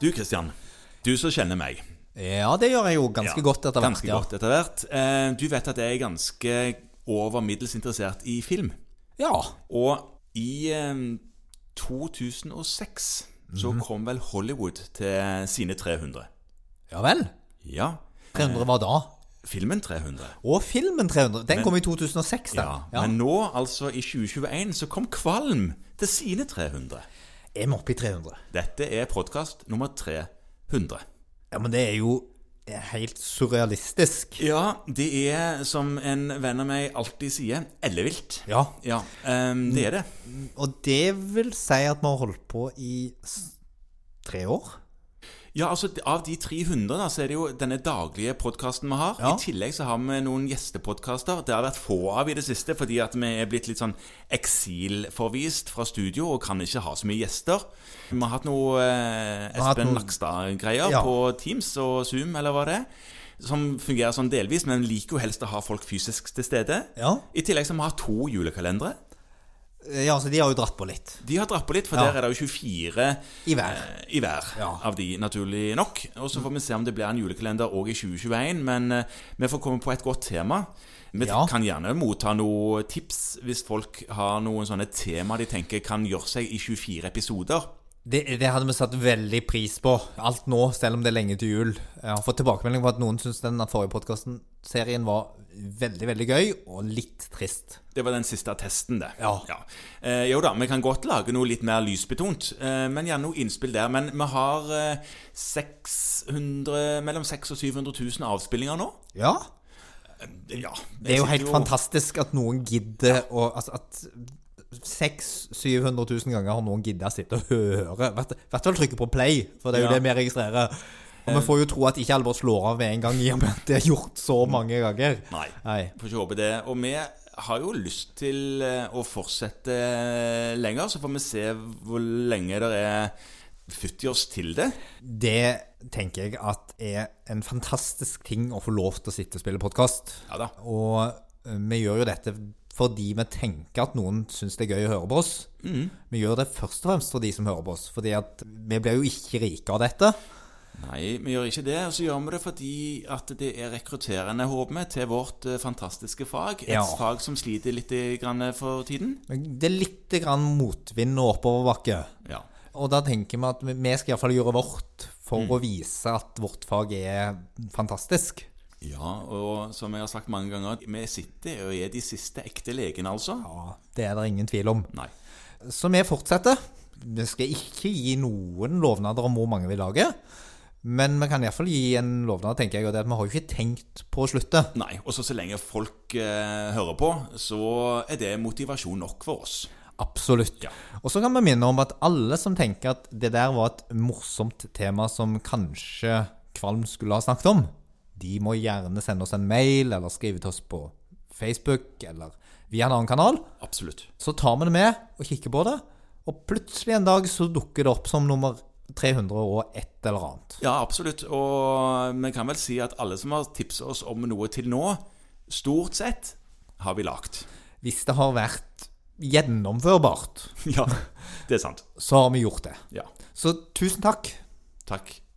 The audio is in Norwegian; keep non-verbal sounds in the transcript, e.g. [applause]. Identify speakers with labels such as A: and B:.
A: Du Kristian, du som kjenner meg
B: Ja, det gjør jeg jo ganske
A: Ja,
B: godt etter hvert.
A: ganske
B: ja.
A: godt etter hvert. Eh, Du vet at jeg er ganske over middels interessert i film.
B: Ja.
A: Og i eh, 2006 så
B: Mhm.
A: kom vel Hollywood til sine 300.
B: ja vel.
A: Ja,
B: 300 var da.
A: filmen 300.
B: Og filmen 300. Den kom i 2006, den.
A: Ja, Men nå, altså i 2021, så kom Kvalm til sine 300.
B: Jeg må opp i 300.
A: Dette er podkast nummer 300.
B: Ja, men det er jo helt surrealistisk.
A: Ja, det er som en venn av meg alltid sier, ellevilt.
B: Ja.
A: Ja, ehm, det er det.
B: Og det vil si at vi har holdt på i s- tre år?
A: Ja, altså Av de 300 da, så er det jo denne daglige podkasten vi har.
B: Ja.
A: I tillegg så har vi noen gjestepodkaster. Det har vært få av i det siste fordi at vi er blitt litt sånn eksilforvist fra studio og kan ikke ha så mye gjester. Vi har hatt noe eh,
B: har hatt
A: Espen
B: noe-
A: Nakstad-greier
B: Ja.
A: på Teams og Zoom, eller hva det er. Som fungerer sånn delvis, men liker jo helst å ha folk fysisk til stede.
B: Ja.
A: I tillegg så har vi hatt to julekalendere.
B: Ja, så de har jo dratt på litt.
A: De har dratt på litt, for
B: Ja.
A: der er det jo 24
B: I hver.
A: eh, i hver
B: Ja.
A: av de, naturlig nok. Og så får vi se om det blir en julekalender òg i 2021, men eh, vi får komme på et godt tema. Vi
B: Ja.
A: kan gjerne motta noen tips hvis folk har noen sånne tema de tenker kan gjøre seg i 24 episoder.
B: Det, det hadde vi satt veldig pris på. Alt nå, selv om det er lenge til jul. Jeg har fått tilbakemelding på at noen syns den forrige podkasten-serien var veldig, veldig gøy, og litt trist.
A: Det var den siste testen, det.
B: Ja.
A: Eh, jo da, vi kan godt lage noe litt mer lysbetont, eh, men gjerne noe innspill der. Men vi har eh, 600, mellom 600 og 700 000 avspillinger nå.
B: Ja.
A: Ja,
B: Det er jo helt fantastisk at noen gidder å Altså at 600 700 000 ganger har noen giddet å sitte og høre. I hvert hvert fall trykke på play, for det er jo
A: Ja. Eh.
B: det vi registrerer. Og vi får jo tro at ikke Albert slår av med en gang, i og med at det er gjort så mange ganger.
A: Nei.
B: Nei.
A: Får ikke håpe det. Og vi har jo lyst til eh, å fortsette eh, lenger, så får vi se hvor lenge det er futt i oss til det.
B: Det tenker jeg at er en fantastisk ting å få lov til å sitte og spille podkast.
A: Ja da.
B: Og eh, vi gjør jo dette fordi vi tenker at noen syns det er gøy å høre på oss.
A: Mm.
B: Vi gjør det først og fremst for de som hører på oss, fordi at vi blir jo ikke rike av dette.
A: Nei, vi gjør ikke det. Og så gjør vi det fordi at det er rekrutterende, håper vi, til vårt eh, fantastiske fag. Et
B: Ja.
A: fag som sliter litt eh, grann for tiden.
B: Men Det er litt grann motvind og oppoverbakke.
A: Ja.
B: Og da tenker vi at vi- vi skal iallfall gjøre vårt for
A: Mm.
B: å vise at vårt fag er fantastisk.
A: ja. Og som jeg har sagt mange ganger, vi sitter og er de siste ekte legene, altså.
B: Ja, Det er det ingen tvil om.
A: Nei.
B: Så vi fortsetter. Vi skal ikke gi noen lovnader om hvor mange vi lager. Men vi kan iallfall gi en lovnad, tenker jeg, og det er at vi har jo ikke tenkt på å slutte.
A: Nei. Og så så lenge folk eh, hører på, så er det motivasjon nok for oss.
B: Absolutt.
A: Ja.
B: Og så kan vi minne om at alle som tenker at det der var et morsomt tema som kanskje Kvalm skulle ha snakket om, de må gjerne sende oss en mail, eller skrive til oss på Facebook, eller via en annen kanal.
A: Absolutt.
B: Så tar vi det med og kikker på det, og plutselig en dag så dukker det opp som nummer 300 og et eller annet.
A: Ja, absolutt. Og vi kan vel si at alle som har tipset oss om noe til nå, stort sett har vi lagt.
B: Hvis det har vært gjennomførbart,
A: Ja, [laughs] det er sant.
B: så har vi gjort det.
A: Ja.
B: Så tusen takk.
A: Takk.